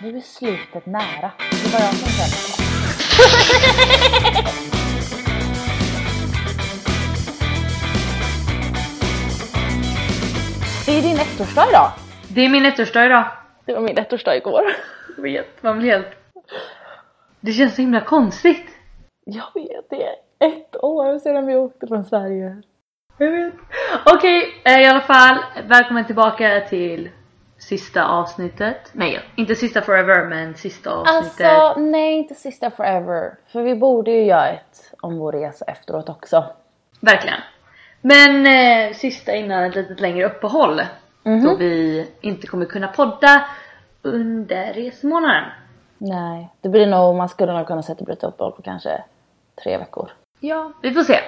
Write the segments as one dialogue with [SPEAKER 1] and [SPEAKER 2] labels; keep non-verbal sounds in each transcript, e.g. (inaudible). [SPEAKER 1] Nu är slutet nära. Det var jag som kände det. (laughs) Det är din ettårsdag idag.
[SPEAKER 2] Det är min ettårsdag idag.
[SPEAKER 1] Det var min ettårsdag igår.
[SPEAKER 2] Jag vet, man blir helt... Det känns så himla konstigt.
[SPEAKER 1] Jag vet, det är ett år sedan vi åkte från Sverige.
[SPEAKER 2] Jag vet. Okej, eh, i alla fall. Välkommen tillbaka till sista avsnittet. Nej, inte sista forever, men sista avsnittet.
[SPEAKER 1] Alltså, nej inte sista forever. För vi borde ju göra ett om vår resa efteråt också.
[SPEAKER 2] Verkligen. Men eh, sista innan ett litet längre uppehåll.
[SPEAKER 1] Mhm.
[SPEAKER 2] Då vi inte kommer kunna podda under resmånaden.
[SPEAKER 1] Nej, det blir nog, man skulle nog kunna sätta bryta uppehåll på kanske tre veckor.
[SPEAKER 2] Ja, vi får se.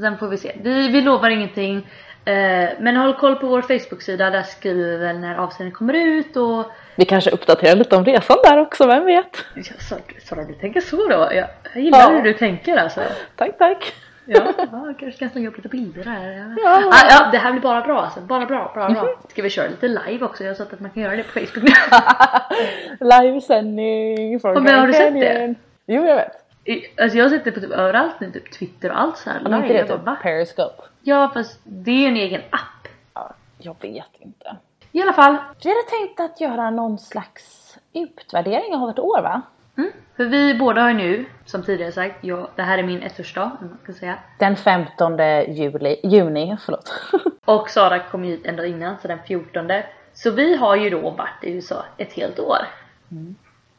[SPEAKER 2] Sen får vi se. Vi, vi lovar ingenting. Eh, men håll koll på vår Facebook-sida. Där skriver vi väl när avsnittet kommer ut och...
[SPEAKER 1] Vi kanske uppdaterar lite om resan där också, vem vet?
[SPEAKER 2] Ja, Sara- Sara, du tänker så då? Jag, jag gillar
[SPEAKER 1] Ja.
[SPEAKER 2] hur du tänker alltså.
[SPEAKER 1] Tack, tack.
[SPEAKER 2] Ja, ja, jag kanske kan slänga upp lite bilder här.
[SPEAKER 1] Ja. Mm-hmm.
[SPEAKER 2] Ja. Ah, ja, det här blir bara bra alltså. Bara bra, bra, bra. Ska vi köra lite live också? Jag har sett att man kan göra det på Facebook
[SPEAKER 1] (laughs)
[SPEAKER 2] nu.
[SPEAKER 1] Livesändning från
[SPEAKER 2] Ja, men har du sett det?
[SPEAKER 1] Canyon. Jo, jag vet.
[SPEAKER 2] I- alltså jag har sett det på typ överallt nu, typ Twitter och allt så här.
[SPEAKER 1] Om inte det
[SPEAKER 2] Jag
[SPEAKER 1] är
[SPEAKER 2] bara,
[SPEAKER 1] typ
[SPEAKER 2] va?
[SPEAKER 1] Periscope.
[SPEAKER 2] Ja, fast det är ju en egen app.
[SPEAKER 1] Ja, jag vet inte.
[SPEAKER 2] I alla fall,
[SPEAKER 1] Vi hade tänkt att göra någon slags utvärdering av vårt år, va?
[SPEAKER 2] Mm. För vi båda har ju nu, som tidigare sagt, jag, det här är min ettårsdag, om man kan säga.
[SPEAKER 1] Den 15 juli, juni, förlåt. (laughs)
[SPEAKER 2] Och Sara kom ju hit en dag innan, så den 14. Så vi har ju då varit i USA ett helt år.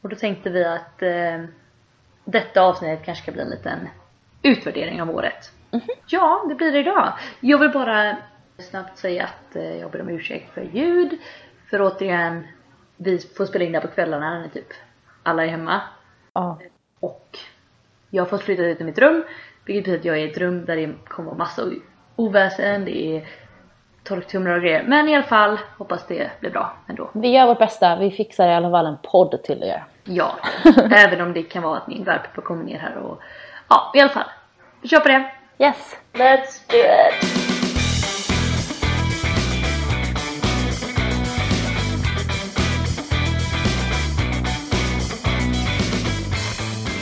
[SPEAKER 2] Och då tänkte vi att eh, detta avsnitt kanske ska bli en liten utvärdering av året. Ja, det blir det idag. Jag vill bara snabbt säga att eh, jag ber om ursäkt för ljud. För återigen, vi får spela in det här på kvällarna när typ alla är hemma.
[SPEAKER 1] ja,
[SPEAKER 2] Och jag har fått flytta ut i mitt rum. Vilket betyder att jag är i ett rum där det kommer vara massa oväsen, det är torktumlare och grejer. Men i alla fall, hoppas det blir bra ändå.
[SPEAKER 1] vi gör vårt bästa. Vi fixar i alla fall en podd till er. (laughs)
[SPEAKER 2] Ja, även om det kan vara att min värpappa kommer ner här och... Ja, i alla fall. Vi kör på det.
[SPEAKER 1] Yes!
[SPEAKER 2] Let's do it!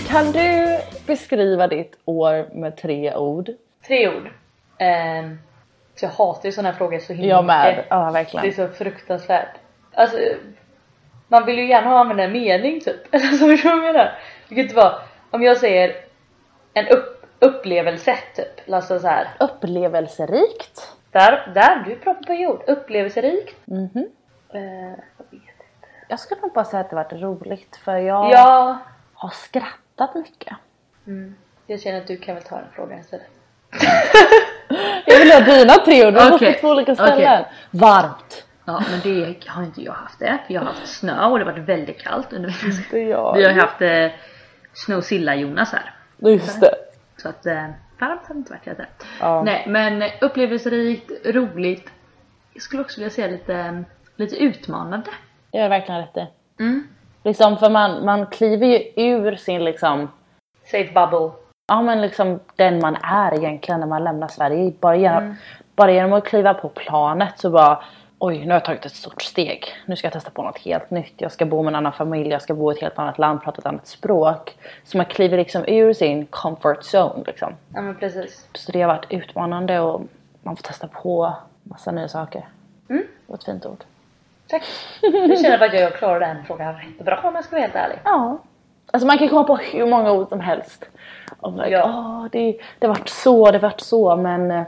[SPEAKER 1] Kan du beskriva ditt år med tre ord?
[SPEAKER 2] Tre ord. Ehm, så jag hatar ju sådana här frågor så himla
[SPEAKER 1] Jag med.
[SPEAKER 2] mycket.
[SPEAKER 1] Ja,
[SPEAKER 2] Det är
[SPEAKER 1] verkligen.
[SPEAKER 2] så fruktansvärt. Alltså, man vill ju gärna använda en mening typ. (laughs) Eller så förstår du vad jag menar? Det kan inte vara, om jag säger en upp, upplevelse typ. Eller Alltså så här.
[SPEAKER 1] Upplevelserikt.
[SPEAKER 2] Där, där, du pratar på jord. Upplevelserikt.
[SPEAKER 1] Mhm.
[SPEAKER 2] Eh, jag vet inte.
[SPEAKER 1] Jag skulle nog bara säga att det varit roligt för jag
[SPEAKER 2] ja.
[SPEAKER 1] har skrattat mycket.
[SPEAKER 2] Mm. Jag känner att du kan väl ta den frågan istället.
[SPEAKER 1] Jag vill ha dina tre ord, de okay.
[SPEAKER 2] Okej,
[SPEAKER 1] på två olika ställen. Varmt.
[SPEAKER 2] Ja, men det har inte jag haft det. Jag har haft snö och det har varit väldigt kallt under vintern.
[SPEAKER 1] Det är jag.
[SPEAKER 2] Vi har ju haft eh, Snowsilla-Jonas här.
[SPEAKER 1] Just det.
[SPEAKER 2] Så att eh, varmt har det inte varit heller.
[SPEAKER 1] Ja.
[SPEAKER 2] Nej men upplevelserikt, roligt. Jag skulle också vilja säga lite, lite utmanande.
[SPEAKER 1] Det gör verkligen rätt i.
[SPEAKER 2] Mm.
[SPEAKER 1] Liksom, för man, man kliver ju ur sin liksom,
[SPEAKER 2] Safe bubble.
[SPEAKER 1] ja men liksom den man är egentligen när man lämnar Sverige. Bara genom,
[SPEAKER 2] Mm.
[SPEAKER 1] bara genom att kliva på planet så bara Oj, nu har jag tagit ett stort steg. Nu ska jag testa på något helt nytt. Jag ska bo med en annan familj, jag ska bo i ett helt annat land, prata ett annat språk. Så man kliver liksom ur sin comfort zone liksom.
[SPEAKER 2] Ja men precis.
[SPEAKER 1] Så det har varit utmanande och man får testa på massa nya saker.
[SPEAKER 2] Mm.
[SPEAKER 1] Det var ett fint ord.
[SPEAKER 2] Tack. Jag känner bara att jag klarar den frågan rätt bra om jag ska vara helt ärlig.
[SPEAKER 1] Ja. Alltså man kan komma på hur många ord som helst. Och like,
[SPEAKER 2] Ja.
[SPEAKER 1] "Åh, det, det har varit så, det har varit så men eh,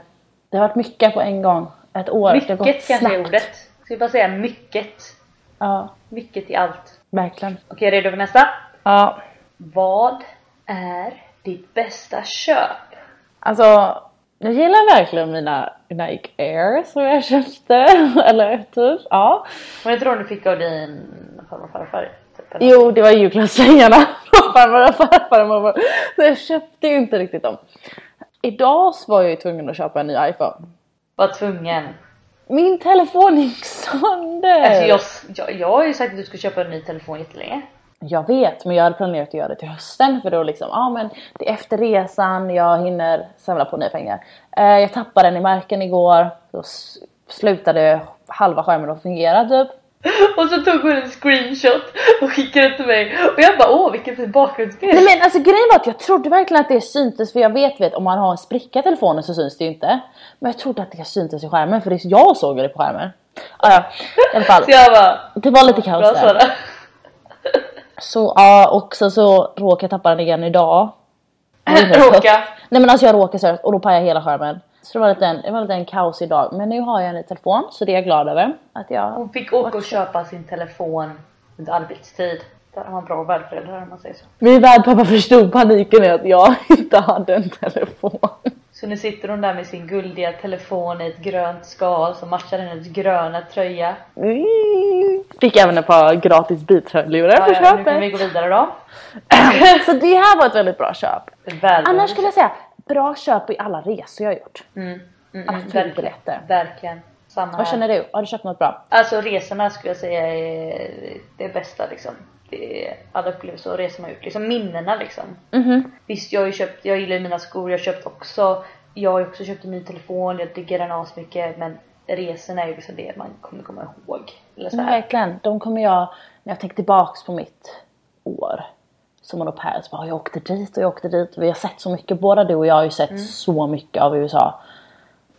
[SPEAKER 1] det har varit mycket på en gång. Ett år. det har gått
[SPEAKER 2] Mycket kanske är
[SPEAKER 1] snabbt.
[SPEAKER 2] ordet. Ska vi bara säga mycket.
[SPEAKER 1] Ja,
[SPEAKER 2] Mycket i allt.
[SPEAKER 1] verkligen.
[SPEAKER 2] Okej, redo för nästa?
[SPEAKER 1] Ja.
[SPEAKER 2] Vad är ditt bästa köp?
[SPEAKER 1] Alltså, jag gillar verkligen mina Nike Air som jag (laughs) köpte. Eller typ, ja.
[SPEAKER 2] Var det inte de du fick av din farmor och farfar? Typ, eller?
[SPEAKER 1] Jo, det var julklappspengarna (laughs) från farmor och farfar och mormor. Så jag köpte ju inte riktigt dem. Idag så var jag ju tvungen att köpa en ny iPhone.
[SPEAKER 2] Var tvungen.
[SPEAKER 1] Min telefon gick sönder!
[SPEAKER 2] Alltså jag, jag, jag har ju sagt att du ska köpa en ny telefon jättelänge.
[SPEAKER 1] Jag vet, men jag hade planerat att göra det till hösten för då liksom, ja ah, men det är efter resan, jag hinner samla på nya pengar. Eh, jag tappade den i marken igår, då s- slutade halva skärmen att fungera typ.
[SPEAKER 2] (laughs) Och så tog hon en screenshot och skickade till mig och jag bara åh vilken fin bakgrundsbild.
[SPEAKER 1] Nej men alltså grejen var att jag trodde verkligen att det syntes för jag vet vet om man har en spricka i telefonen så syns det ju inte. Men jag trodde att det syntes i skärmen för det jag såg det på skärmen. Ah, ja, i alla fall.
[SPEAKER 2] Så jag bara
[SPEAKER 1] Det var lite
[SPEAKER 2] bra
[SPEAKER 1] kaos där.
[SPEAKER 2] Sara.
[SPEAKER 1] Så ja, och sen så råkade jag tappa den igen idag.
[SPEAKER 2] (laughs) Råka.
[SPEAKER 1] Nej men alltså jag råkade så här, och då pajade hela skärmen. Så det var lite en, det var lite en kaos idag. Men nu har jag en ny telefon så det är jag glad över. Att jag...
[SPEAKER 2] Hon fick åka och köpa sin telefon under arbetstid. Där har man bra värdföräldrar om man säger så.
[SPEAKER 1] Min värdpappa förstod paniken i att jag (laughs) inte hade en telefon.
[SPEAKER 2] Så nu sitter hon där med sin guldiga telefon i ett grönt skal som matchar hennes gröna tröja.
[SPEAKER 1] Fick även ett par gratis beats-hörlurar
[SPEAKER 2] Mm. Ja,
[SPEAKER 1] på
[SPEAKER 2] ja, nu kan
[SPEAKER 1] köpet.
[SPEAKER 2] vi gå vidare då.
[SPEAKER 1] (laughs) Så det här var ett väldigt bra köp.
[SPEAKER 2] Väldigt.
[SPEAKER 1] Annars skulle jag säga bra köp i alla resor jag har gjort.
[SPEAKER 2] Mm, mm,
[SPEAKER 1] Alla
[SPEAKER 2] mm, verkligen.
[SPEAKER 1] flygbiljetter.
[SPEAKER 2] Verkligen. Samma
[SPEAKER 1] Vad
[SPEAKER 2] här.
[SPEAKER 1] känner du? Har du köpt något bra?
[SPEAKER 2] Alltså resorna skulle jag säga är det bästa liksom. Det är alla upplevelser och resor man gjort. Liksom minnena liksom.
[SPEAKER 1] Mhm.
[SPEAKER 2] Visst jag har ju köpt, jag gillar ju mina skor, jag har köpt också, jag har ju också köpt en ny telefon, jag diggar den asmycket men resorna är ju liksom det man kommer komma ihåg. Eller så
[SPEAKER 1] Men
[SPEAKER 2] här.
[SPEAKER 1] verkligen, de kommer jag, när jag tänker tillbaks på mitt år som en au pair så bara, jag åkte dit och jag åkte dit. Vi har sett så mycket, båda du och jag har ju sett
[SPEAKER 2] Mm.
[SPEAKER 1] så mycket av USA.
[SPEAKER 2] Ja,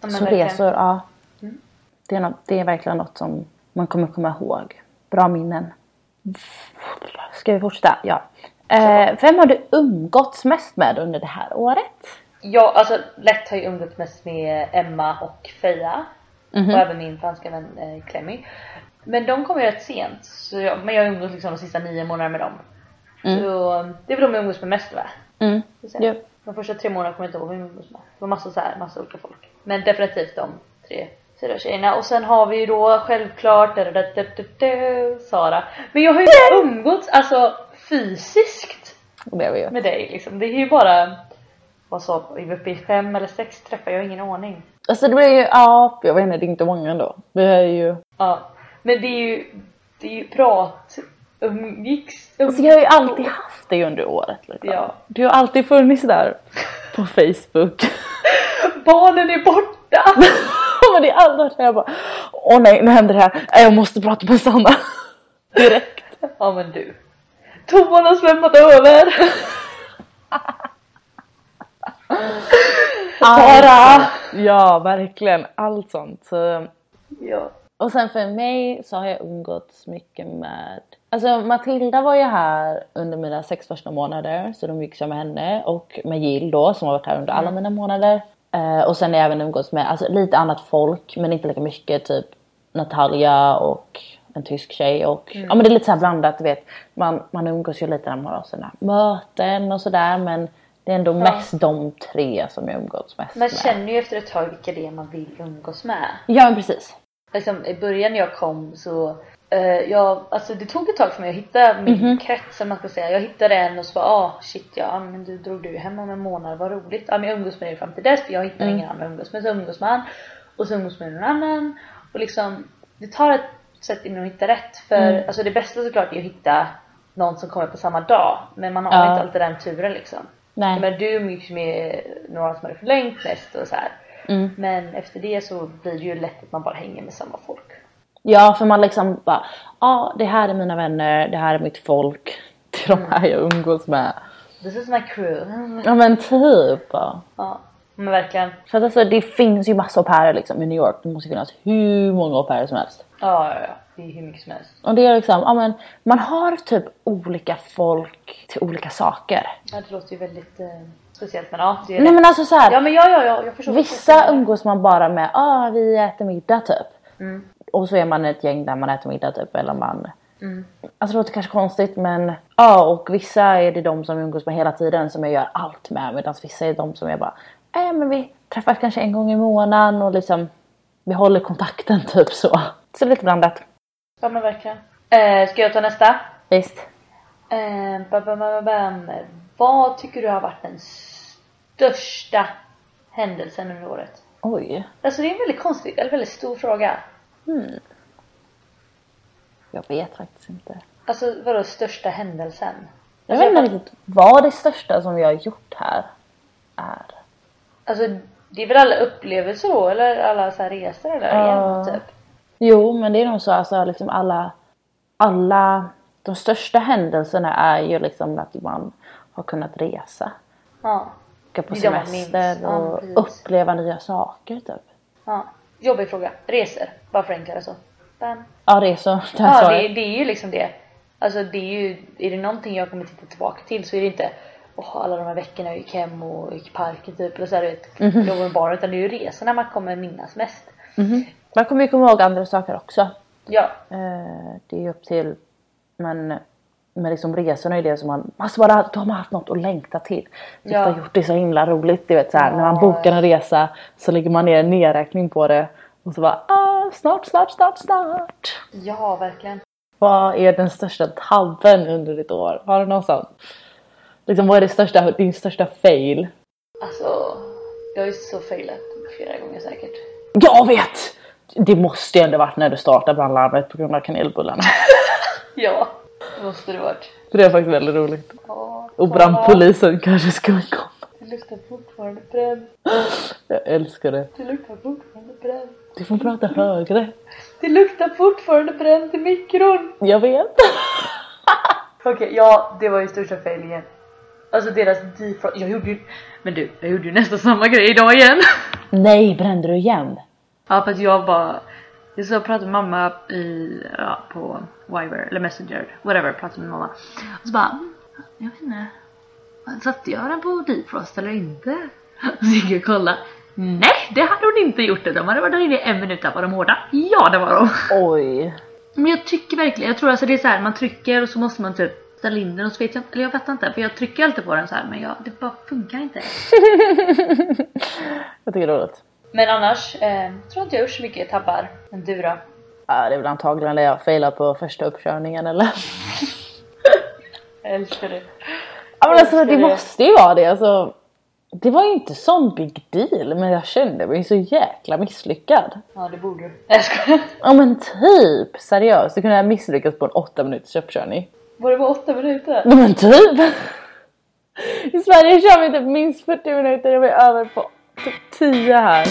[SPEAKER 2] men
[SPEAKER 1] Så
[SPEAKER 2] verkligen.
[SPEAKER 1] resor, ja. Mm. Det, är något, det är verkligen något som man kommer komma ihåg. Bra minnen. Ska vi fortsätta? Ja. Eh, vem har du umgåtts mest med under det här året?
[SPEAKER 2] Ja, alltså lätt har ju umgåtts mest med Emma och Feja.
[SPEAKER 1] Mhm.
[SPEAKER 2] Och även min franska vän eh, Clemmy. Men de kom ju rätt sent. Så jag, men jag har umgåtts liksom de sista nio månaderna med dem. Så det är väl de jag umgås med mest va?
[SPEAKER 1] Mm.
[SPEAKER 2] Ska säga.
[SPEAKER 1] Ja.
[SPEAKER 2] De första tre månaderna kommer jag inte ihåg vem jag umgås med. Det var massa så här, massa olika folk. Men definitivt de tre, fyra tjejerna. Och sen har vi ju då självklart da, da, da, da, da, Sara. Men jag har ju inte umgåtts alltså fysiskt
[SPEAKER 1] Det blev vi ju.
[SPEAKER 2] med dig liksom. Det är ju bara, vad sa vi, uppe i fem eller sex träffar, jag har ingen aning.
[SPEAKER 1] Alltså det blev ju, ja, jag vet inte, det är inte många ändå. Det är ju...
[SPEAKER 2] Ja. Men det är ju, det är ju prat, umgicks, um,
[SPEAKER 1] Alltså jag har ju alltid haft det under året. Liksom.
[SPEAKER 2] Ja. (laughs)
[SPEAKER 1] Du har alltid funnits där på Facebook.
[SPEAKER 2] barnen är borta!
[SPEAKER 1] (laughs) Men det är aldrig när jag bara, åh nej, nu händer det här. Nej, Jag måste prata med Sanna. Direkt.
[SPEAKER 2] Ja men du. Toan har svämmat över!
[SPEAKER 1] Bara! Ja, verkligen. Allt sånt. Så
[SPEAKER 2] Ja.
[SPEAKER 1] Och sen för mig så har jag umgåtts mycket med... Alltså Matilda var ju här under mina sex första månader så de gick jag med henne och med Jill då som har varit här under alla mina månader. Eh, och sen har jag även umgåtts med alltså, lite annat folk men inte lika mycket typ Natalia och en tysk tjej och ja men det är lite så här blandat du vet. Man, man umgås ju lite när man har sina möten och sådär men det är ändå mest de tre som jag umgåtts mest
[SPEAKER 2] Man
[SPEAKER 1] med.
[SPEAKER 2] känner ju efter ett tag vilka det är man vill umgås med.
[SPEAKER 1] Ja men precis.
[SPEAKER 2] Liksom, I början när jag kom så eh, jag, alltså det tog ett tag för mig att hitta min krets som man ska säga. Jag hittade en och så bara ah shit ja men du drog du hem om en månad, vad roligt. Ja men jag umgås med dig fram till dess för jag hittar ingen annan att umgås med. Så umgås man och så umgås man med någon annan. Och liksom det tar ett sätt innan man hittar rätt. För alltså det bästa såklart är att hitta någon som kommer på samma dag. Men man har
[SPEAKER 1] Ja.
[SPEAKER 2] inte alltid den turen liksom.
[SPEAKER 1] Nej.
[SPEAKER 2] Men du umgicks med några som hade förlängt mest och så här.
[SPEAKER 1] Mm.
[SPEAKER 2] Men efter det så blir det ju lätt att man bara hänger med samma folk.
[SPEAKER 1] Ja, för man liksom bara, ja det här är mina vänner, det här är mitt folk, (laughs) det är de här jag umgås med.
[SPEAKER 2] This is my crew.
[SPEAKER 1] Ja men typ. ja.
[SPEAKER 2] Ja, men verkligen.
[SPEAKER 1] För att alltså det finns ju massa au pairer liksom i New York, det måste finnas hur många au pairer som helst.
[SPEAKER 2] Ja, ja, ja. Det är hur mycket som helst.
[SPEAKER 1] Och det är liksom, ja men man har typ olika folk till olika saker.
[SPEAKER 2] Ja, det låter ju väldigt eh, speciellt men ja, det är
[SPEAKER 1] Nej
[SPEAKER 2] det.
[SPEAKER 1] men alltså så här,
[SPEAKER 2] Ja men ja, ja, ja, jag förstår.
[SPEAKER 1] Vissa umgås man bara med, ah vi äter middag typ. Och så är man ett gäng där man äter middag typ eller man... Alltså det låter kanske konstigt men ja och vissa är det de som jag umgås med hela tiden som jag gör allt med medan vissa är de som jag bara, eh men vi träffas kanske en gång i månaden och liksom vi håller kontakten typ så. Så lite blandat.
[SPEAKER 2] Ja men verkligen. Eh, ska jag ta nästa?
[SPEAKER 1] Visst.
[SPEAKER 2] Eh, bam, bam, bam, bam. Vad tycker du har varit den största händelsen under året?
[SPEAKER 1] Oj,
[SPEAKER 2] Alltså det är en väldigt konstig, eller väldigt stor fråga.
[SPEAKER 1] jag vet faktiskt inte.
[SPEAKER 2] Alltså vadå största händelsen? Alltså,
[SPEAKER 1] Jag vet inte riktigt vad det största som jag har gjort här är.
[SPEAKER 2] Alltså det är väl alla upplevelser då eller alla så här resor eller
[SPEAKER 1] Ja.
[SPEAKER 2] en, typ?
[SPEAKER 1] Jo, men det är nog så alltså liksom alla, alla, de största händelserna är ju liksom att man har kunnat resa,
[SPEAKER 2] Ja.
[SPEAKER 1] åka på
[SPEAKER 2] Det är de man
[SPEAKER 1] semester
[SPEAKER 2] minns. Ja,
[SPEAKER 1] och
[SPEAKER 2] precis.
[SPEAKER 1] uppleva nya saker typ.
[SPEAKER 2] ja. Jobbig fråga. Resor. Bara förenkla det så. Bam.
[SPEAKER 1] Ja, (laughs) resor. Där
[SPEAKER 2] Ja,
[SPEAKER 1] sa
[SPEAKER 2] det,
[SPEAKER 1] jag.
[SPEAKER 2] det är ju liksom det. Alltså det är ju, är det någonting jag kommer titta tillbaka till så är det inte Åh, alla de här veckorna jag gick hem och gick i parken typ eller så här, du vet, jag var med barn utan det är ju resorna man kommer minnas mest.
[SPEAKER 1] Mhm. Man kommer ju komma ihåg andra saker också.
[SPEAKER 2] Ja,
[SPEAKER 1] Eh, det är ju upp till... Men, men liksom resorna är ju det som man... Alltså bara, då har man haft något att längta till. Typ
[SPEAKER 2] Ja.
[SPEAKER 1] ja. har gjort det så himla roligt. Du vet så här, när man
[SPEAKER 2] Ja.
[SPEAKER 1] bokar en resa så lägger man ner en nedräkning på det. Och så bara ah, snart, snart, snart, snart.
[SPEAKER 2] ja verkligen.
[SPEAKER 1] Vad är den största tabben under ditt år? Har du någon sån? Liksom vad är det största, din största fail?
[SPEAKER 2] Alltså jag har ju så failat flera gånger säkert.
[SPEAKER 1] Jag vet! Det måste ju ändå varit när du startade brandlarmet på grund av kanelbullarna. (laughs)
[SPEAKER 2] Ja, det måste det varit.
[SPEAKER 1] För det är faktiskt väldigt roligt.
[SPEAKER 2] Ja,
[SPEAKER 1] Och
[SPEAKER 2] kolla,
[SPEAKER 1] brandpolisen kanske skulle komma.
[SPEAKER 2] Det luktar fortfarande bränd.
[SPEAKER 1] Jag älskar det.
[SPEAKER 2] Det luktar fortfarande bränd.
[SPEAKER 1] Du får prata högre.
[SPEAKER 2] Det luktar fortfarande bränt i mikron.
[SPEAKER 1] Jag vet.
[SPEAKER 2] Okej, ja det var ju största failingen. Alltså deras defrost. Jag gjorde ju... Men du, jag gjorde ju nästan samma grej idag igen. (laughs)
[SPEAKER 1] Nej, brände du igen?
[SPEAKER 2] ja för att jag bara... Jag så pratade med mamma i, ja, på Viber eller Messenger, whatever, pratade med mamma. Och så bara, jag vet inte. Satte jag den på defrost eller inte? (laughs) Så gick jag och kollade. Nej, det hade hon inte gjort. De hade varit där inne i en minut. Där var de hårda. Ja, det var de. (laughs)
[SPEAKER 1] Oj.
[SPEAKER 2] Men jag tycker verkligen, jag tror alltså det är så här, man trycker och så måste man typ ställa in den och så vet jag inte, eller jag fattar inte för jag trycker alltid på den så här men jag, det bara funkar inte.
[SPEAKER 1] Jag tycker det är roligt.
[SPEAKER 2] Men annars, eh, tror inte jag gjort så mycket tabbar. Men du då?
[SPEAKER 1] Ja, det är väl antagligen det jag failar på första uppkörningen eller?
[SPEAKER 2] Jag älskar det.
[SPEAKER 1] Ja men alltså det
[SPEAKER 2] Älskar det.
[SPEAKER 1] måste ju vara det. Alltså, det var ju inte sån big deal men jag kände mig så jäkla misslyckad.
[SPEAKER 2] Ja det borde du. Nej, Jag skojar.
[SPEAKER 1] Ja men typ seriöst, du kunde ha misslyckats på en åtta minuters uppkörning.
[SPEAKER 2] Var det bara åtta minuter?
[SPEAKER 1] Ja, men typ! I Sverige kör vi typ minst 40 minuter och vi är över på typ 10 här.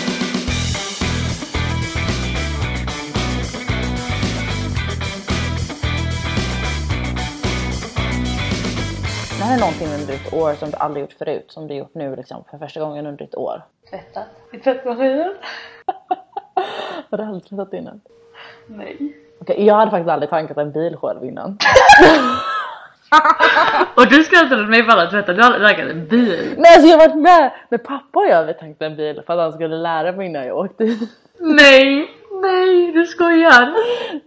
[SPEAKER 1] Det här är någonting under ett år som du aldrig gjort förut, som du gjort nu liksom för första gången under ett år.
[SPEAKER 2] Tvättat. I tvättmaskinen?
[SPEAKER 1] Har du aldrig tvättat innan?
[SPEAKER 2] Nej.
[SPEAKER 1] Okej, jag hade faktiskt aldrig tankat en bil själv innan.
[SPEAKER 2] Och du skrattade åt mig för alla tvättar, du har aldrig raggat en bil.
[SPEAKER 1] Nej alltså jag har varit med, men pappa och jag vi tankade en bil för att han skulle lära mig innan jag åkte hit.
[SPEAKER 2] Nej! Nej, du skojar!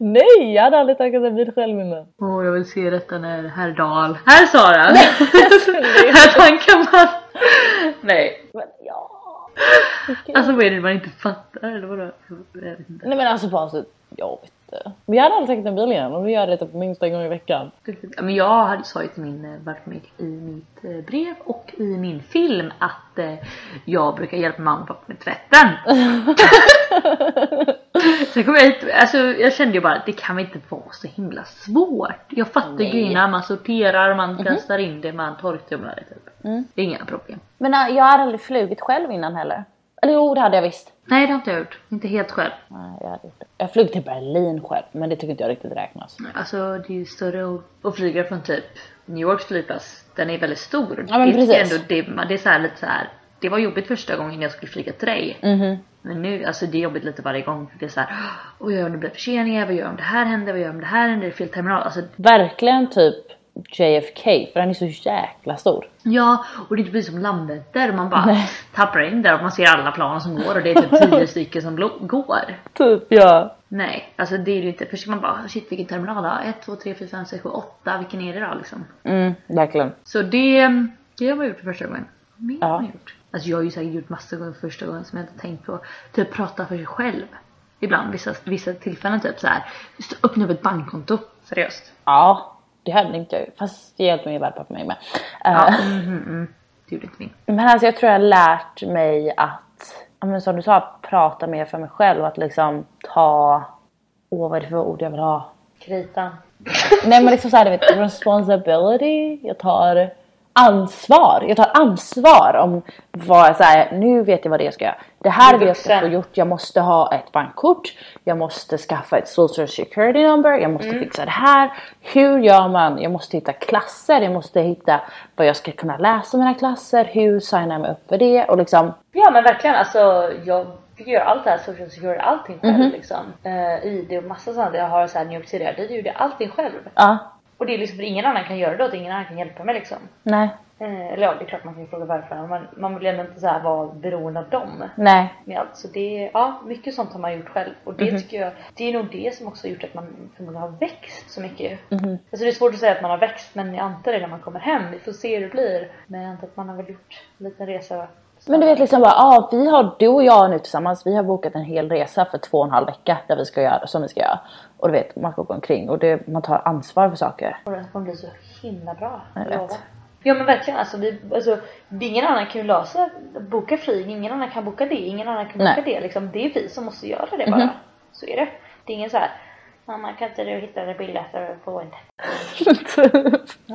[SPEAKER 1] Nej, jag hade aldrig tankat en bil själv (laughs) innan.
[SPEAKER 2] Åh, jag vill se detta när herr Dahl... Herr Sara! (laughs) här
[SPEAKER 1] Här
[SPEAKER 2] tankar man! Nej,
[SPEAKER 1] Men ja.
[SPEAKER 2] Alltså vad är det man inte fattar eller vadå? Jag vet inte.
[SPEAKER 1] Nej men alltså bara så, jag vet inte. Men jag hade aldrig tänkt en bil igen och vi gör det typ minst en gång i veckan.
[SPEAKER 2] Ja, Men jag hade- sa ju till min eh, barnfamilj i mitt eh, brev och i min film att eh, jag brukar hjälpa mamma och pappa med tvätten. Sen kom jag hit, alltså jag kände ju bara att det kan väl inte vara så himla svårt. Jag fattar ju
[SPEAKER 1] Nej.
[SPEAKER 2] grejerna, man sorterar, man kastar in det, man torktumlar det typ. Det är inga problem.
[SPEAKER 1] Men äh, jag har aldrig flugit själv innan heller. Eller jo det hade jag visst.
[SPEAKER 2] Nej det har inte jag gjort, inte helt själv.
[SPEAKER 1] Nej jag hade gjort det. Jag flög till Berlin själv men det tycker inte jag riktigt räknas.
[SPEAKER 2] Alltså det är ju större att- att flyga från typ New Yorks flygplats. Den är väldigt stor.
[SPEAKER 1] Ja, men
[SPEAKER 2] det är
[SPEAKER 1] precis.
[SPEAKER 2] ändå det, man- det är så här lite så här. Det var jobbigt första gången jag skulle flyga till dig.
[SPEAKER 1] Mhm.
[SPEAKER 2] Men nu, alltså det är jobbigt lite varje gång. För det är så här. Vad gör jag om det blir förseningar? Vad gör jag om det här händer? Vad gör jag om det här händer? Är det fel terminal? Alltså
[SPEAKER 1] Verkligen typ JFK för den är så jäkla stor.
[SPEAKER 2] ja, och det blir som Landvetter. Man bara tappar in där och man ser alla plan som går och det är
[SPEAKER 1] (laughs)
[SPEAKER 2] typ 10 stycken som lo- går.
[SPEAKER 1] Typ ja.
[SPEAKER 2] Nej, alltså det är ju inte. Först ska man bara shit vilken terminal? Ja, 1, 2, 3, 4, 5, 6, 7, 8. Vilken är det då liksom?
[SPEAKER 1] Mm, verkligen.
[SPEAKER 2] Så det, det har jag gjort för första gången. Mer
[SPEAKER 1] Ja.
[SPEAKER 2] har jag gjort. Alltså jag har ju säkert gjort massa gånger för första gången som jag inte tänkt på. Typ prata för sig själv. Ibland, vissa, vissa tillfällen typ så här. "Just Öppna upp ett bankkonto. Seriöst.
[SPEAKER 1] Ja, det hade inte jag ju. Fast det hjälpte min värdpappa mig med. Eh,
[SPEAKER 2] Ja. Mm, mm, mm. Det gjorde inte min.
[SPEAKER 1] Men alltså jag tror jag har lärt mig att, ja, men som du sa, prata mer för mig själv och att liksom ta, åh vad är det för ord jag vill ha?
[SPEAKER 2] Kritan.
[SPEAKER 1] Nej men liksom såhär du vet, responsibility, jag tar ansvar. Jag tar ansvar om vad, så här, nu vet jag vad det är jag ska göra. Det här
[SPEAKER 2] Du är
[SPEAKER 1] vill jag ska få
[SPEAKER 2] vuxen.
[SPEAKER 1] gjort. Jag måste ha ett bankkort. Jag måste skaffa ett social security number. Jag måste fixa det här. Hur gör man? Jag måste hitta klasser. Jag måste hitta vad jag ska kunna läsa i mina klasser. Hur signar jag mig upp för det? Och liksom,
[SPEAKER 2] Ja men verkligen alltså jag fick göra allt det här social security, allting själv liksom. Eh, ID och massa sånt. Jag har så här New York City ID, gjorde jag allting själv.
[SPEAKER 1] ja,
[SPEAKER 2] Och det är liksom för ingen annan kan göra det åt, ingen annan kan hjälpa mig liksom.
[SPEAKER 1] nej,
[SPEAKER 2] Eh, eller ja, det är klart man kan ju fråga varför men man vill ändå inte så här vara beroende av dem.
[SPEAKER 1] nej.
[SPEAKER 2] med allt. Så det, ja, mycket sånt har man gjort själv. Och det
[SPEAKER 1] Mhm.
[SPEAKER 2] tycker jag, det är nog det som också har gjort att man förmodligen har växt så mycket.
[SPEAKER 1] Mhm.
[SPEAKER 2] Alltså det är svårt att säga att man har växt, men jag antar det när man kommer hem. Vi får se hur det blir. Men jag antar att man har väl gjort en liten resa.
[SPEAKER 1] Men du vet liksom bara, ah, vi har, du och jag nu tillsammans, vi har bokat en hel resa för två och en halv vecka där vi ska göra, som vi ska göra. Och du vet, man ska gå omkring och det, man tar ansvar för (laughs) saker.
[SPEAKER 2] Och den kommer bli så himla bra.
[SPEAKER 1] Jag
[SPEAKER 2] jag
[SPEAKER 1] vet.
[SPEAKER 2] lovar. Ja men verkligen alltså, vi, alltså det är ingen annan kan ju lösa, boka flyg, ingen annan kan boka det, ingen annan kan
[SPEAKER 1] Nej. Mhm.
[SPEAKER 2] boka det liksom. Det är vi som måste göra det bara. Så är det. Det är ingen så här, mamma kan inte du hitta det billigare på internet? Jag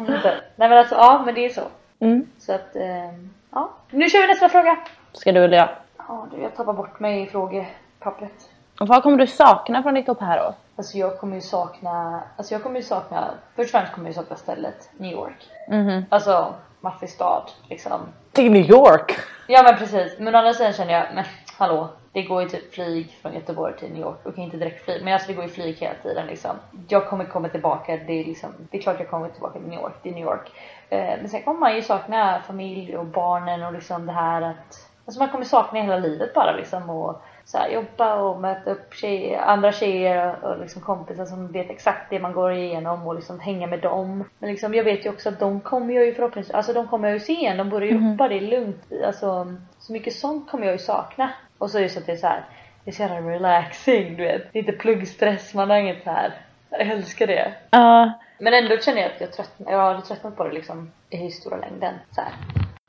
[SPEAKER 2] vet inte. Nej men alltså ja, men det är så.
[SPEAKER 1] mm.
[SPEAKER 2] Så att, ehm, ja. Nu kör vi nästa fråga!
[SPEAKER 1] Ska du eller jag?
[SPEAKER 2] Ja, du, jag tappar bort mig i frågepappret.
[SPEAKER 1] Och vad kommer du sakna från ditt au pair-år?
[SPEAKER 2] Alltså jag kommer ju sakna, alltså jag kommer ju sakna, först och främst kommer jag ju sakna stället, New York.
[SPEAKER 1] Mhm.
[SPEAKER 2] Alltså, maffig stad, liksom.
[SPEAKER 1] Till New York!
[SPEAKER 2] Ja men precis, men å andra sidan känner jag, men hallå. Det går ju typ flyg från Göteborg till New York, okej inte direkt flyg, men alltså det går ju flyg hela tiden liksom. Jag kommer komma tillbaka, det är liksom, det är klart jag kommer tillbaka till New York, det är New York. Eh, men sen kommer man ju sakna familj och barnen och liksom det här att, alltså man kommer sakna hela livet bara liksom och så här, jobba och möta upp tjejer, andra tjejer och, och liksom kompisar som vet exakt det man går igenom och liksom hänga med dem. Men liksom, jag vet ju också att de kommer jag ju förhoppningsvis, alltså de kommer jag ju se igen, de bor i Europa, det är lugnt. Alltså, så mycket sånt kommer jag ju sakna. Och så är det så att det är så här, det är så jävla relaxing du vet. Det är inte pluggstress, man har inget så här. Jag älskar det.
[SPEAKER 1] Ja,
[SPEAKER 2] Men ändå känner jag att jag, tröttnar, jag har tröttnat på det liksom i stora längden. Så här.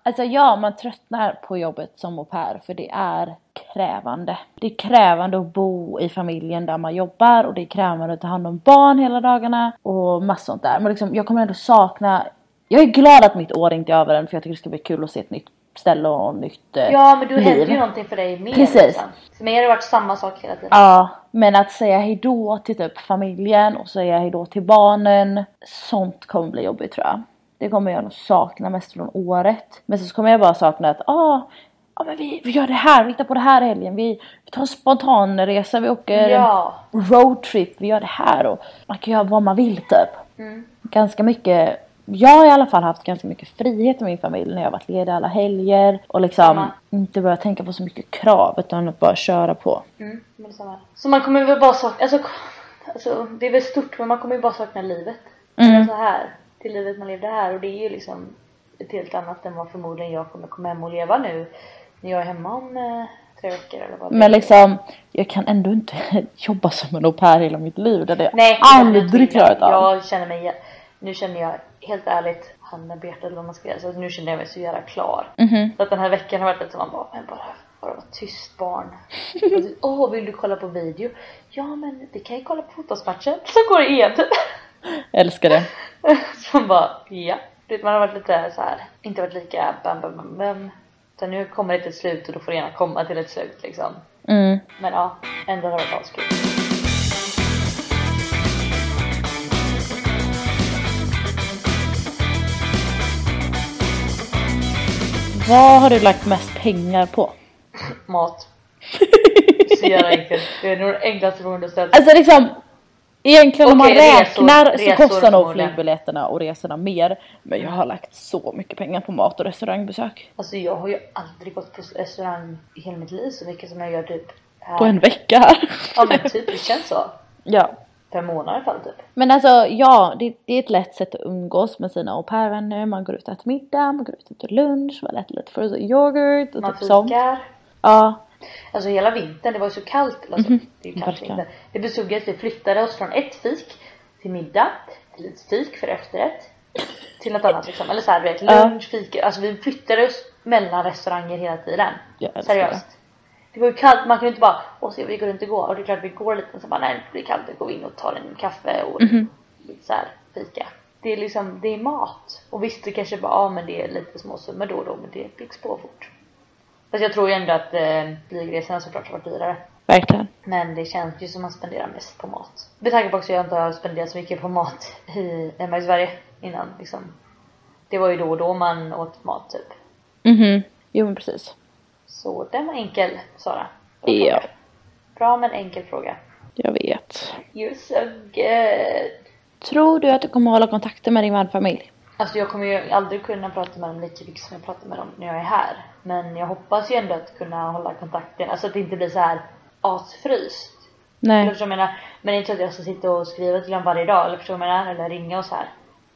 [SPEAKER 1] alltså ja, man tröttnar på jobbet som au pair för det är krävande. Det är krävande att bo i familjen där man jobbar och det är krävande att ta hand om barn hela dagarna och massor sånt där. Men liksom, jag kommer ändå sakna... Jag är glad att mitt år inte är över än för jag tycker det ska bli kul att se ett nytt ställe och nytt eh,
[SPEAKER 2] Ja men du
[SPEAKER 1] liv.
[SPEAKER 2] händer ju någonting för dig mer.
[SPEAKER 1] Precis.
[SPEAKER 2] Liksom. För mig har det varit samma sak hela tiden.
[SPEAKER 1] Ja, men att säga hejdå till typ familjen och säga hejdå till barnen. Sånt kommer bli jobbigt tror jag. Det kommer jag nog sakna mest från året. Men så kommer jag bara sakna att ah, ja men vi, vi gör det här, vi hittar på det här i helgen. Vi, vi tar en spontanresa, vi åker
[SPEAKER 2] Ja.
[SPEAKER 1] en roadtrip, vi gör det här och man kan göra vad man vill typ. Ganska mycket jag har i alla fall haft ganska mycket frihet i min familj när jag har varit ledig alla helger och liksom
[SPEAKER 2] Samma.
[SPEAKER 1] inte börjat tänka på så mycket krav utan att bara köra på.
[SPEAKER 2] Mm, men det är samma. Så man kommer väl bara sakna, alltså, alltså det är väl stort men man kommer ju bara sakna livet.
[SPEAKER 1] Mm.
[SPEAKER 2] Eller Så här, det livet man levde här och det är ju liksom ett helt annat än vad förmodligen jag kommer komma hem och leva nu när jag är hemma om eh, tre veckor eller vad det
[SPEAKER 1] Men
[SPEAKER 2] är.
[SPEAKER 1] liksom, jag kan ändå inte (laughs) jobba som en au pair hela mitt liv. Det hade jag
[SPEAKER 2] Nej,
[SPEAKER 1] aldrig
[SPEAKER 2] jag-
[SPEAKER 1] klarat av.
[SPEAKER 2] Jag känner mig, nu känner jag helt ärligt, handen på hjärtat eller vad man ska säga, så nu känner jag mig så jävla klar.
[SPEAKER 1] Mhm.
[SPEAKER 2] Så att den här veckan har varit lite som man bara, men bara, bara vara tyst barn.
[SPEAKER 1] (laughs)
[SPEAKER 2] Och så, Åh, vill du kolla på video? Ja men vi kan ju kolla på fotbollsmatchen. Så går det igen (laughs) typ.
[SPEAKER 1] Jag älskar det.
[SPEAKER 2] Så man bara, ja. Du vet, man har varit lite så här, inte varit lika bam bam bam bam. Utan nu kommer det till ett slut och då får det gärna komma till ett slut liksom.
[SPEAKER 1] Mm.
[SPEAKER 2] Men ja, ändå har det varit askul.
[SPEAKER 1] Vad har du lagt mest pengar på?
[SPEAKER 2] Mat. Så jävla enkelt. Det är nog det enklaste beroendet att ställa.
[SPEAKER 1] Alltså liksom, egentligen om man
[SPEAKER 2] Okej, resor.
[SPEAKER 1] räknar
[SPEAKER 2] Resor
[SPEAKER 1] så kostar nog
[SPEAKER 2] förmodligen.
[SPEAKER 1] flygbiljetterna och resorna mer. Men jag har lagt så mycket pengar på mat och restaurangbesök.
[SPEAKER 2] Alltså jag har ju aldrig gått på restaurang i hela mitt liv så mycket som jag gör typ här.
[SPEAKER 1] På en vecka (laughs) här.
[SPEAKER 2] Ja men typ, det känns så.
[SPEAKER 1] ja.
[SPEAKER 2] Per månad i alla fall typ.
[SPEAKER 1] Men alltså ja, det, det är ett lätt sätt att umgås med sina au pair-vänner. Man går ut och äter middag, man går ut och äter lunch, man äter lite frozen yoghurt och
[SPEAKER 2] Man
[SPEAKER 1] typ sånt.
[SPEAKER 2] fikar.
[SPEAKER 1] Ja,
[SPEAKER 2] Alltså hela vintern, det var ju så kallt. Alltså, det är ju kallt
[SPEAKER 1] Mhm. verkligen.
[SPEAKER 2] vinter. Det bestod i att vi flyttade oss från ett fik till middag, till ett fik för efterrätt, till något annat liksom. Eller såhär du vet,
[SPEAKER 1] Ja.
[SPEAKER 2] lunch, fika. Alltså vi flyttade oss mellan restauranger hela tiden.
[SPEAKER 1] Jag älskar
[SPEAKER 2] Seriöst. Det var ju kallt, man kunde inte bara åh se, vi går runt och går. Och det är klart vi går lite, men så bara nej det blir kallt, då går vi in och tar en kaffe och
[SPEAKER 1] Mhm.
[SPEAKER 2] lite såhär fika. Det är liksom, det är mat. Och visst det kanske bara, ja men det är lite små summor då och då men det byggs på fort. Fast jag tror ju ändå att eh, flygresorna såklart har varit dyrare.
[SPEAKER 1] Verkligen.
[SPEAKER 2] Men det känns ju som man spenderar mest på mat. Med tanke på också att jag inte har spenderat så mycket på mat i, hemma i Sverige innan liksom. Det var ju då och då man åt mat typ.
[SPEAKER 1] Mhm. Jo men precis.
[SPEAKER 2] Så den var enkel Sara. Bra
[SPEAKER 1] Ja.
[SPEAKER 2] fråga. Bra men enkel fråga. eh,
[SPEAKER 1] Jag vet.
[SPEAKER 2] You're so good.
[SPEAKER 1] Tror du att du kommer hålla kontakten med din värdfamilj?
[SPEAKER 2] Alltså jag kommer ju aldrig kunna prata med dem lika mycket som jag pratar med dem när jag är här. Men jag hoppas ju ändå att kunna hålla kontakten, alltså att det inte blir så här asfryst. Eller
[SPEAKER 1] Nej.
[SPEAKER 2] förstår du vad jag menar? Men det är inte så att jag ska sitta och skriva till dem varje dag, eller förstår du vad jag menar? Eller ringa och så här.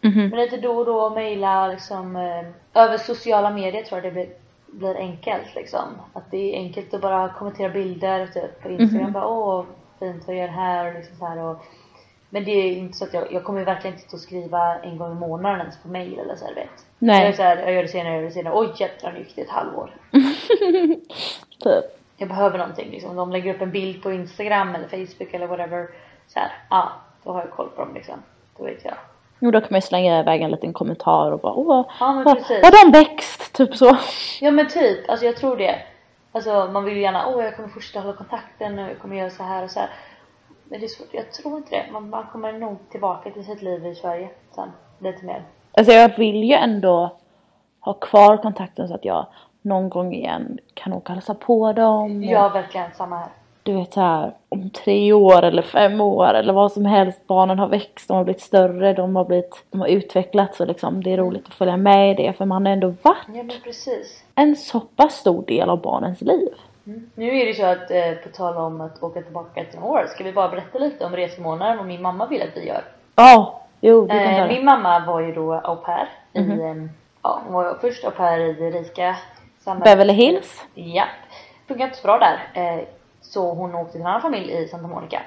[SPEAKER 1] Mhm.
[SPEAKER 2] Men lite då och då mejla liksom eh, över sociala medier tror jag det blir, blir enkelt liksom. Att det är enkelt att bara kommentera bilder typ på Instagram bara åh fint vad gör du här och liksom så här och men det är inte så att jag, jag kommer ju verkligen inte att skriva en gång i månaden ens på mail eller så här, du vet.
[SPEAKER 1] Nej.
[SPEAKER 2] Jag, är så här, jag gör det senare, jag gör det senare. Oj jävlar nu gick det ett halvår.
[SPEAKER 1] Typ.
[SPEAKER 2] Jag behöver någonting liksom. De lägger upp en bild på Instagram eller Facebook eller whatever. Så här, ja ah, då har jag koll på dem liksom. Då vet jag.
[SPEAKER 1] Jo då kan man ju slänga iväg en liten kommentar och bara åh,
[SPEAKER 2] Ja, men
[SPEAKER 1] vad,
[SPEAKER 2] precis.
[SPEAKER 1] vad den växt, typ så.
[SPEAKER 2] Ja men typ, alltså jag tror det. Alltså man vill ju gärna, åh jag kommer fortsätta hålla kontakten och jag kommer göra så här och så här. Men det är svårt, jag tror inte det. Man, man kommer nog tillbaka till sitt liv i Sverige sen. Lite mer.
[SPEAKER 1] Alltså jag vill ju ändå ha kvar kontakten så att jag någon gång igen kan åka och hälsa på dem. och
[SPEAKER 2] Ja verkligen, samma här.
[SPEAKER 1] Du vet så här, om tre år eller fem år eller vad som helst. Barnen har växt, de har blivit större, de har, blivit, de har utvecklats och liksom det är roligt att följa med i det för man har ändå varit
[SPEAKER 2] Ja men precis.
[SPEAKER 1] en så pass stor del av barnens liv.
[SPEAKER 2] Mm. Nu är det så att eh, på tal om att åka tillbaka till några år, ska vi bara berätta lite om resmånaden och min mamma vill att vi gör.
[SPEAKER 1] Ja, jo du kan ta
[SPEAKER 2] Eh,
[SPEAKER 1] det. Mm-hmm.
[SPEAKER 2] min mamma var ju då au pair i, eh, ja hon var först au pair i det rika samhället.
[SPEAKER 1] Beverly Hills.
[SPEAKER 2] Ja, funkar inte så bra där. Eh, Så hon åkte till en annan familj i Santa Monica.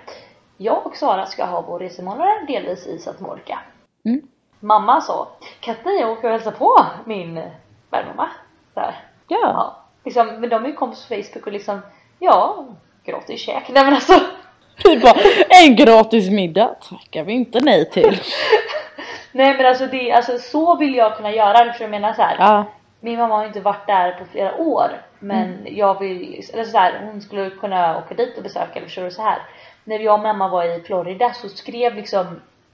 [SPEAKER 2] Jag och Sara ska ha vår resemånare delvis i Santa Monica.
[SPEAKER 1] Mm.
[SPEAKER 2] Mamma sa, kan inte ni åka och hälsa på min värdmamma? Så här.
[SPEAKER 1] Ja.
[SPEAKER 2] Ja. Liksom, men de är ju kompis på Facebook och liksom, ja, gratis käk. Nej men alltså.
[SPEAKER 1] Du bara, en gratis middag tackar vi inte nej till.
[SPEAKER 2] Nej men alltså, det, alltså så vill jag kunna göra, förstår du vad jag menar? Så här.
[SPEAKER 1] (laughs) Ja.
[SPEAKER 2] Min mamma har inte varit där på flera år men jag vill, eller så här, hon skulle kunna åka dit och besöka eller förstår du så här. När jag och mamma var i Florida så skrev liksom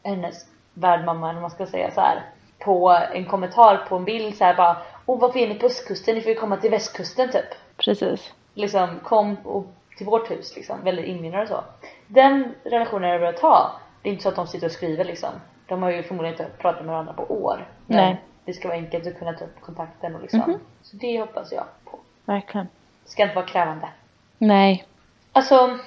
[SPEAKER 2] hennes värdmamma, eller vad man ska säga så här på en kommentar på en bild så här bara Åh varför är ni på östkusten? Ni får ju komma till västkusten typ.
[SPEAKER 1] Precis.
[SPEAKER 2] Liksom kom och, till vårt hus liksom, väldigt inbjudande och så. Den relationen jag börjat ha, det är inte så att de sitter och skriver liksom. De har ju förmodligen inte pratat med varandra på år. Men
[SPEAKER 1] Nej. Mhm.
[SPEAKER 2] Det ska vara enkelt att kunna ta upp kontakten och liksom. Så det hoppas jag på.
[SPEAKER 1] Verkligen.
[SPEAKER 2] Det ska inte vara krävande.
[SPEAKER 1] Nej.
[SPEAKER 2] Alltså,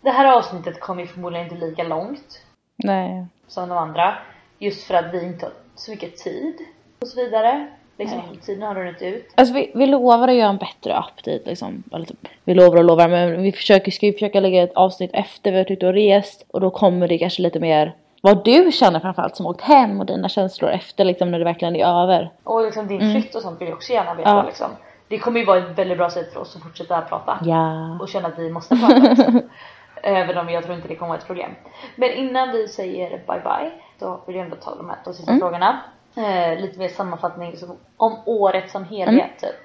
[SPEAKER 2] det här avsnittet kommer ju förmodligen inte lika långt
[SPEAKER 1] Nej.
[SPEAKER 2] som de andra. Just för att vi inte har så mycket tid och så vidare. Liksom, tiden har runnit ut.
[SPEAKER 1] Alltså vi, vi lovar att göra en bättre update liksom. Eller typ, vi lovar och lovar men vi försöker, ska ju försöka lägga ett avsnitt efter vi har varit ute och rest. Och då kommer det kanske lite mer vad du känner framförallt som åkt hem och dina känslor efter liksom när det verkligen är över.
[SPEAKER 2] Och liksom din flytt och sånt vill jag också gärna veta
[SPEAKER 1] Mm. Ja.
[SPEAKER 2] liksom. Det kommer ju vara ett väldigt bra sätt för oss att fortsätta prata.
[SPEAKER 1] Ja.
[SPEAKER 2] och känna att vi måste prata också.
[SPEAKER 1] (laughs)
[SPEAKER 2] Även om jag tror inte det kommer vara ett problem. Men innan vi säger bye bye så vill jag ändå ta de här två
[SPEAKER 1] Mm.
[SPEAKER 2] sista frågorna. Eh, lite mer sammanfattning liksom, om året som helhet
[SPEAKER 1] Mm.
[SPEAKER 2] typ.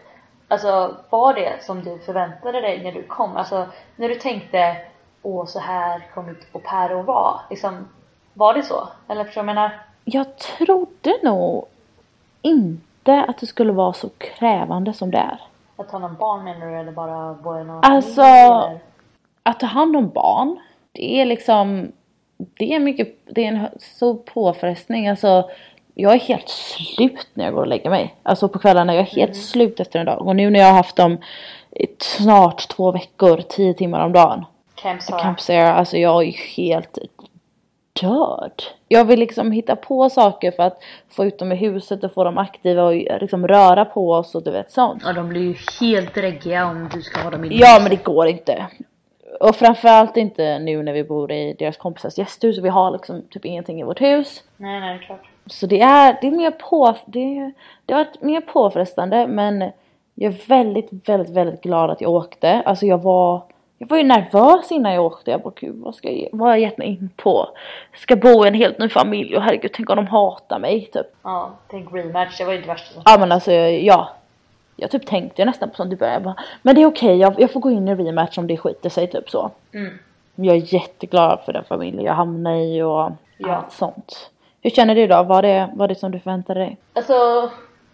[SPEAKER 2] Alltså var det som du förväntade dig när du kom? Alltså när du tänkte åh så här kommer mitt au pair att vara. Liksom, var det så? Eller förstår du vad jag menar?
[SPEAKER 1] Jag trodde nog inte att det skulle vara så krävande som det är.
[SPEAKER 2] Att ta någon barn menar du eller bara bo i någon
[SPEAKER 1] Alltså-
[SPEAKER 2] familj, eller?
[SPEAKER 1] att ta hand om barn, det är liksom, det är mycket, det är en hö- stor påfrestning. Alltså, jag är helt slut när jag går och lägger mig. Alltså på kvällarna, jag är helt slut efter en dag. Och nu när jag har haft dem i t- snart två veckor, tio timmar om dagen.
[SPEAKER 2] Camp Sara.
[SPEAKER 1] Camp Sarah, alltså jag är ju helt död. Jag vill liksom hitta på saker för att få ut dem i huset och få dem aktiva och liksom röra på oss och du vet sånt.
[SPEAKER 2] Ja de blir ju helt dräggiga om du ska ha dem i
[SPEAKER 1] Ja men det går inte. Och framförallt inte nu när vi bor i deras kompisars gästhus och vi har liksom typ ingenting i vårt hus.
[SPEAKER 2] Nej nej det är klart.
[SPEAKER 1] Så det är, det är mer på, det, det har varit mer påfrestande men jag är väldigt, väldigt, väldigt glad att jag åkte. Alltså jag var, jag var ju nervös innan jag åkte. Jag bara gud vad ska jag, vad har jag gett mig in på? Ska bo i en helt ny familj och herregud tänk om de hatar mig typ. Ah.
[SPEAKER 2] Ja, tänk rematch, det var ju det värsta som
[SPEAKER 1] Ja men alltså ja. Jag typ tänkte ju nästan på sånt i början. Jag bara, men det är okej, jag, jag får gå in i rematch om det skiter sig typ så.
[SPEAKER 2] Mm.
[SPEAKER 1] Jag är jätteglad för den familj jag hamnade i och
[SPEAKER 2] Ja.
[SPEAKER 1] allt sånt. Hur känner du då? Var det, var det som du förväntade dig?
[SPEAKER 2] Alltså,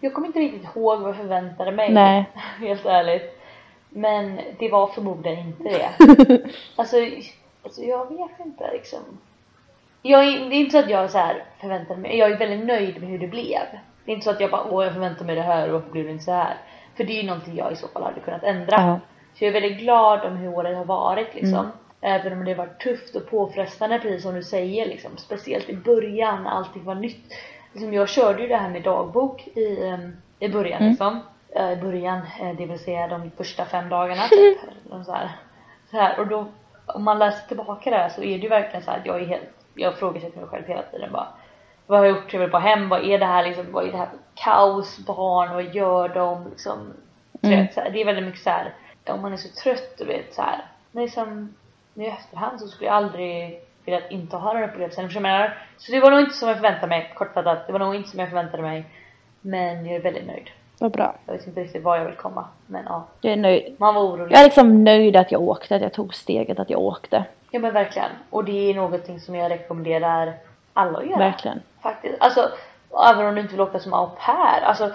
[SPEAKER 2] jag kommer inte riktigt ihåg vad jag förväntade mig.
[SPEAKER 1] Nej.
[SPEAKER 2] (laughs) Helt ärligt. Men det var förmodligen inte det. Alltså, alltså jag vet inte liksom. Jag är, det är inte så att jag så här förväntade mig, jag är väldigt nöjd med hur det blev. Det är inte så att jag bara åh jag förväntade mig det här och varför blev det inte så här? För det är ju någonting jag i så fall hade kunnat ändra.
[SPEAKER 1] Ja.
[SPEAKER 2] Så jag är väldigt glad om hur året har varit liksom. Även om det har varit tufft och påfrestande precis som du säger liksom. Speciellt i början, allting var nytt. Liksom, jag körde ju det här med dagbok i, em, i början liksom. Eh, I början, eh, det vill säga de första fem dagarna typ. Eller så här. Så här. Och då, om man läser tillbaka det här så är det ju verkligen så här att jag är helt, jag ifrågasätter mig själv hela tiden bara. Vad har jag gjort? Jag vill bara hem. Vad är det här liksom? Vad är det här för kaos? Barn? Vad gör de? Liksom, du
[SPEAKER 1] Mm.
[SPEAKER 2] vet, så här, det är väldigt mycket så här. om man är så trött och vet så här. Men liksom, nu i efterhand så skulle jag aldrig vilja inte ha den upplevelsen. Förstår du vad jag menar? Så det var nog inte som jag förväntade mig, kortfattat. Det var nog inte som jag förväntade mig. Men jag är väldigt nöjd.
[SPEAKER 1] Vad bra.
[SPEAKER 2] Jag vet inte riktigt var jag vill komma. Men ja,
[SPEAKER 1] Jag är nöjd.
[SPEAKER 2] man var orolig.
[SPEAKER 1] Jag är liksom nöjd att jag åkte, att jag tog steget, att jag åkte.
[SPEAKER 2] Ja men verkligen. Och det är någonting som jag rekommenderar alla att göra.
[SPEAKER 1] Verkligen.
[SPEAKER 2] Faktiskt. Alltså, även om du inte vill åka som au pair. Alltså,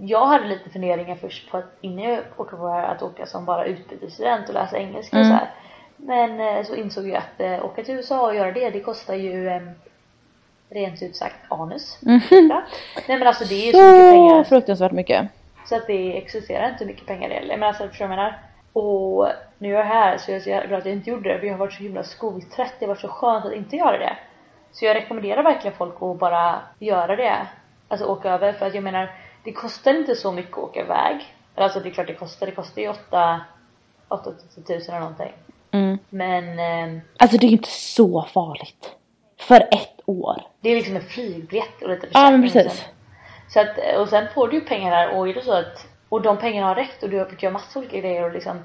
[SPEAKER 2] jag hade lite funderingar först på att innan jag åkte på det här att åka som bara utbytesstudent och läsa engelska och så här. Men eh, så insåg jag att eh, åka till USA och göra det, det kostar ju em, rent ut sagt anus. Ja. Nej men alltså det är ju
[SPEAKER 1] (laughs)
[SPEAKER 2] så mycket
[SPEAKER 1] Så
[SPEAKER 2] pengar.
[SPEAKER 1] fruktansvärt mycket.
[SPEAKER 2] Så att det existerar inte hur mycket pengar det gäller. Men alltså förstår du vad jag menar? Och nu är jag här så jag är så jävla glad att jag inte gjorde det. För jag har varit så himla skoltrött. Det har varit så skönt att inte göra det. Så jag rekommenderar verkligen folk att bara göra det. Alltså åka över. För att jag menar, det kostar inte så mycket att åka iväg. Eller Alltså det är klart det kostar. Det kostar ju 8 8 10 tusen eller någonting.
[SPEAKER 1] Mm.
[SPEAKER 2] Men eh,
[SPEAKER 1] Alltså det är ju inte så farligt. För ett år.
[SPEAKER 2] det är liksom en flygbiljett och lite
[SPEAKER 1] Ja men
[SPEAKER 2] försäkring
[SPEAKER 1] precis.
[SPEAKER 2] sen. Så att, och sen får du ju pengar där och är det så att och de pengarna har räckt och du har fått göra massa olika grejer och liksom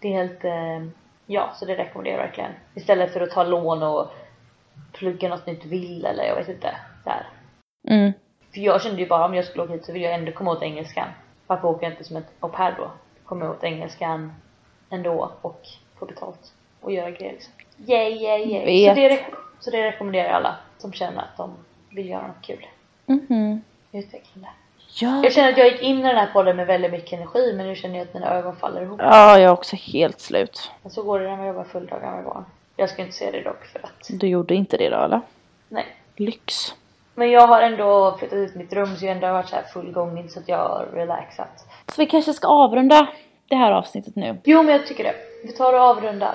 [SPEAKER 2] det är helt eh, ja så det rekommenderar jag verkligen istället för att ta lån och plugga något nytt vill eller jag vet inte så här.
[SPEAKER 1] Mm.
[SPEAKER 2] för jag kände ju bara om jag skulle åka hit så vill jag ändå komma åt engelskan varför åker jag inte som ett au pair då komma åt engelskan ändå och få betalt och göra grejer liksom yay yay yay så
[SPEAKER 1] Vet.
[SPEAKER 2] det, rek- så det rekommenderar jag alla som känner att de vill göra något kul
[SPEAKER 1] Mhm.
[SPEAKER 2] utvecklande
[SPEAKER 1] Ja.
[SPEAKER 2] jag känner att jag gick in i den här podden med väldigt mycket energi men nu känner jag att mina ögon faller ihop.
[SPEAKER 1] ja, jag är också helt slut.
[SPEAKER 2] Men så går det när man jobbar fulldagar med barn. Jag ska inte säga det dock för att,
[SPEAKER 1] Du gjorde inte det då eller?
[SPEAKER 2] nej.
[SPEAKER 1] Lyx.
[SPEAKER 2] Men jag har ändå flyttat ut mitt rum så jag ändå har varit så här full gång, inte så att jag har relaxat.
[SPEAKER 1] Så vi kanske ska avrunda det här avsnittet nu.
[SPEAKER 2] Jo men jag tycker det. Vi tar och avrundar.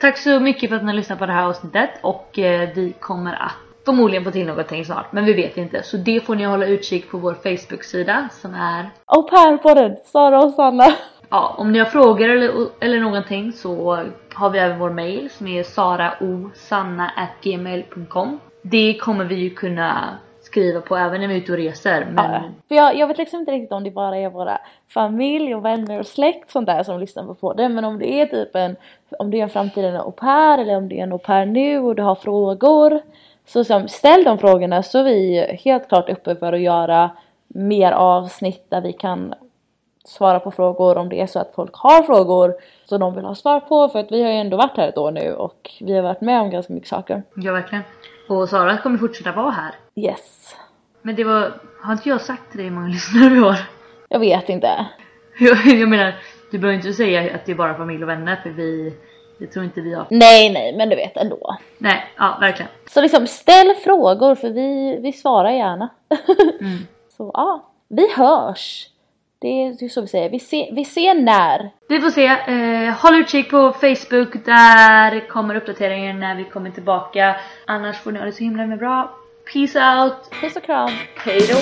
[SPEAKER 2] Tack så mycket för att ni har lyssnat på det här avsnittet och eh, vi kommer att förmodligen få till någonting snart men vi vet inte. Så det får ni hålla utkik på vår Facebook-sida som är
[SPEAKER 1] Au pair-podden, Sara och Sanna.
[SPEAKER 2] Ja, om ni har frågor eller, eller någonting så har vi även vår mail som är saraosanna.gmail.com Det kommer vi ju kunna skriva på även när vi är ute och reser men
[SPEAKER 1] Ja, För jag, jag vet liksom inte riktigt om det bara är våra familj och vänner och släkt sånt där som lyssnar på podden. Men om det är typ en, om det är en framtida au pair eller om det är en au pair nu och du har frågor. Så som, ställ de frågorna så är vi helt klart uppe för att göra mer avsnitt där vi kan svara på frågor om det är så att folk har frågor som de vill ha svar på. För att vi har ju ändå varit här ett år nu och vi har varit med om ganska mycket saker.
[SPEAKER 2] ja verkligen. Och Sara kommer fortsätta vara här.
[SPEAKER 1] Yes.
[SPEAKER 2] Men det var, har inte jag sagt till dig hur många (laughs) lyssnare vi har?
[SPEAKER 1] Jag vet inte.
[SPEAKER 2] Jag, jag menar, du behöver inte säga att det är bara familj och vänner för vi, jag tror inte vi har...
[SPEAKER 1] Nej, nej, men du vet ändå.
[SPEAKER 2] Nej, ja verkligen.
[SPEAKER 1] Så liksom ställ frågor för vi, vi svarar gärna.
[SPEAKER 2] Mm.
[SPEAKER 1] (laughs) så ja, vi hörs. Det är det är så vi säger. Vi, se, vi ser när.
[SPEAKER 2] Vi får se. Eh, håll utkik på Facebook. Där kommer uppdateringen när vi kommer tillbaka. Annars får ni ha det så himla med bra. Peace out!
[SPEAKER 1] Puss och kram.
[SPEAKER 2] Hejdå!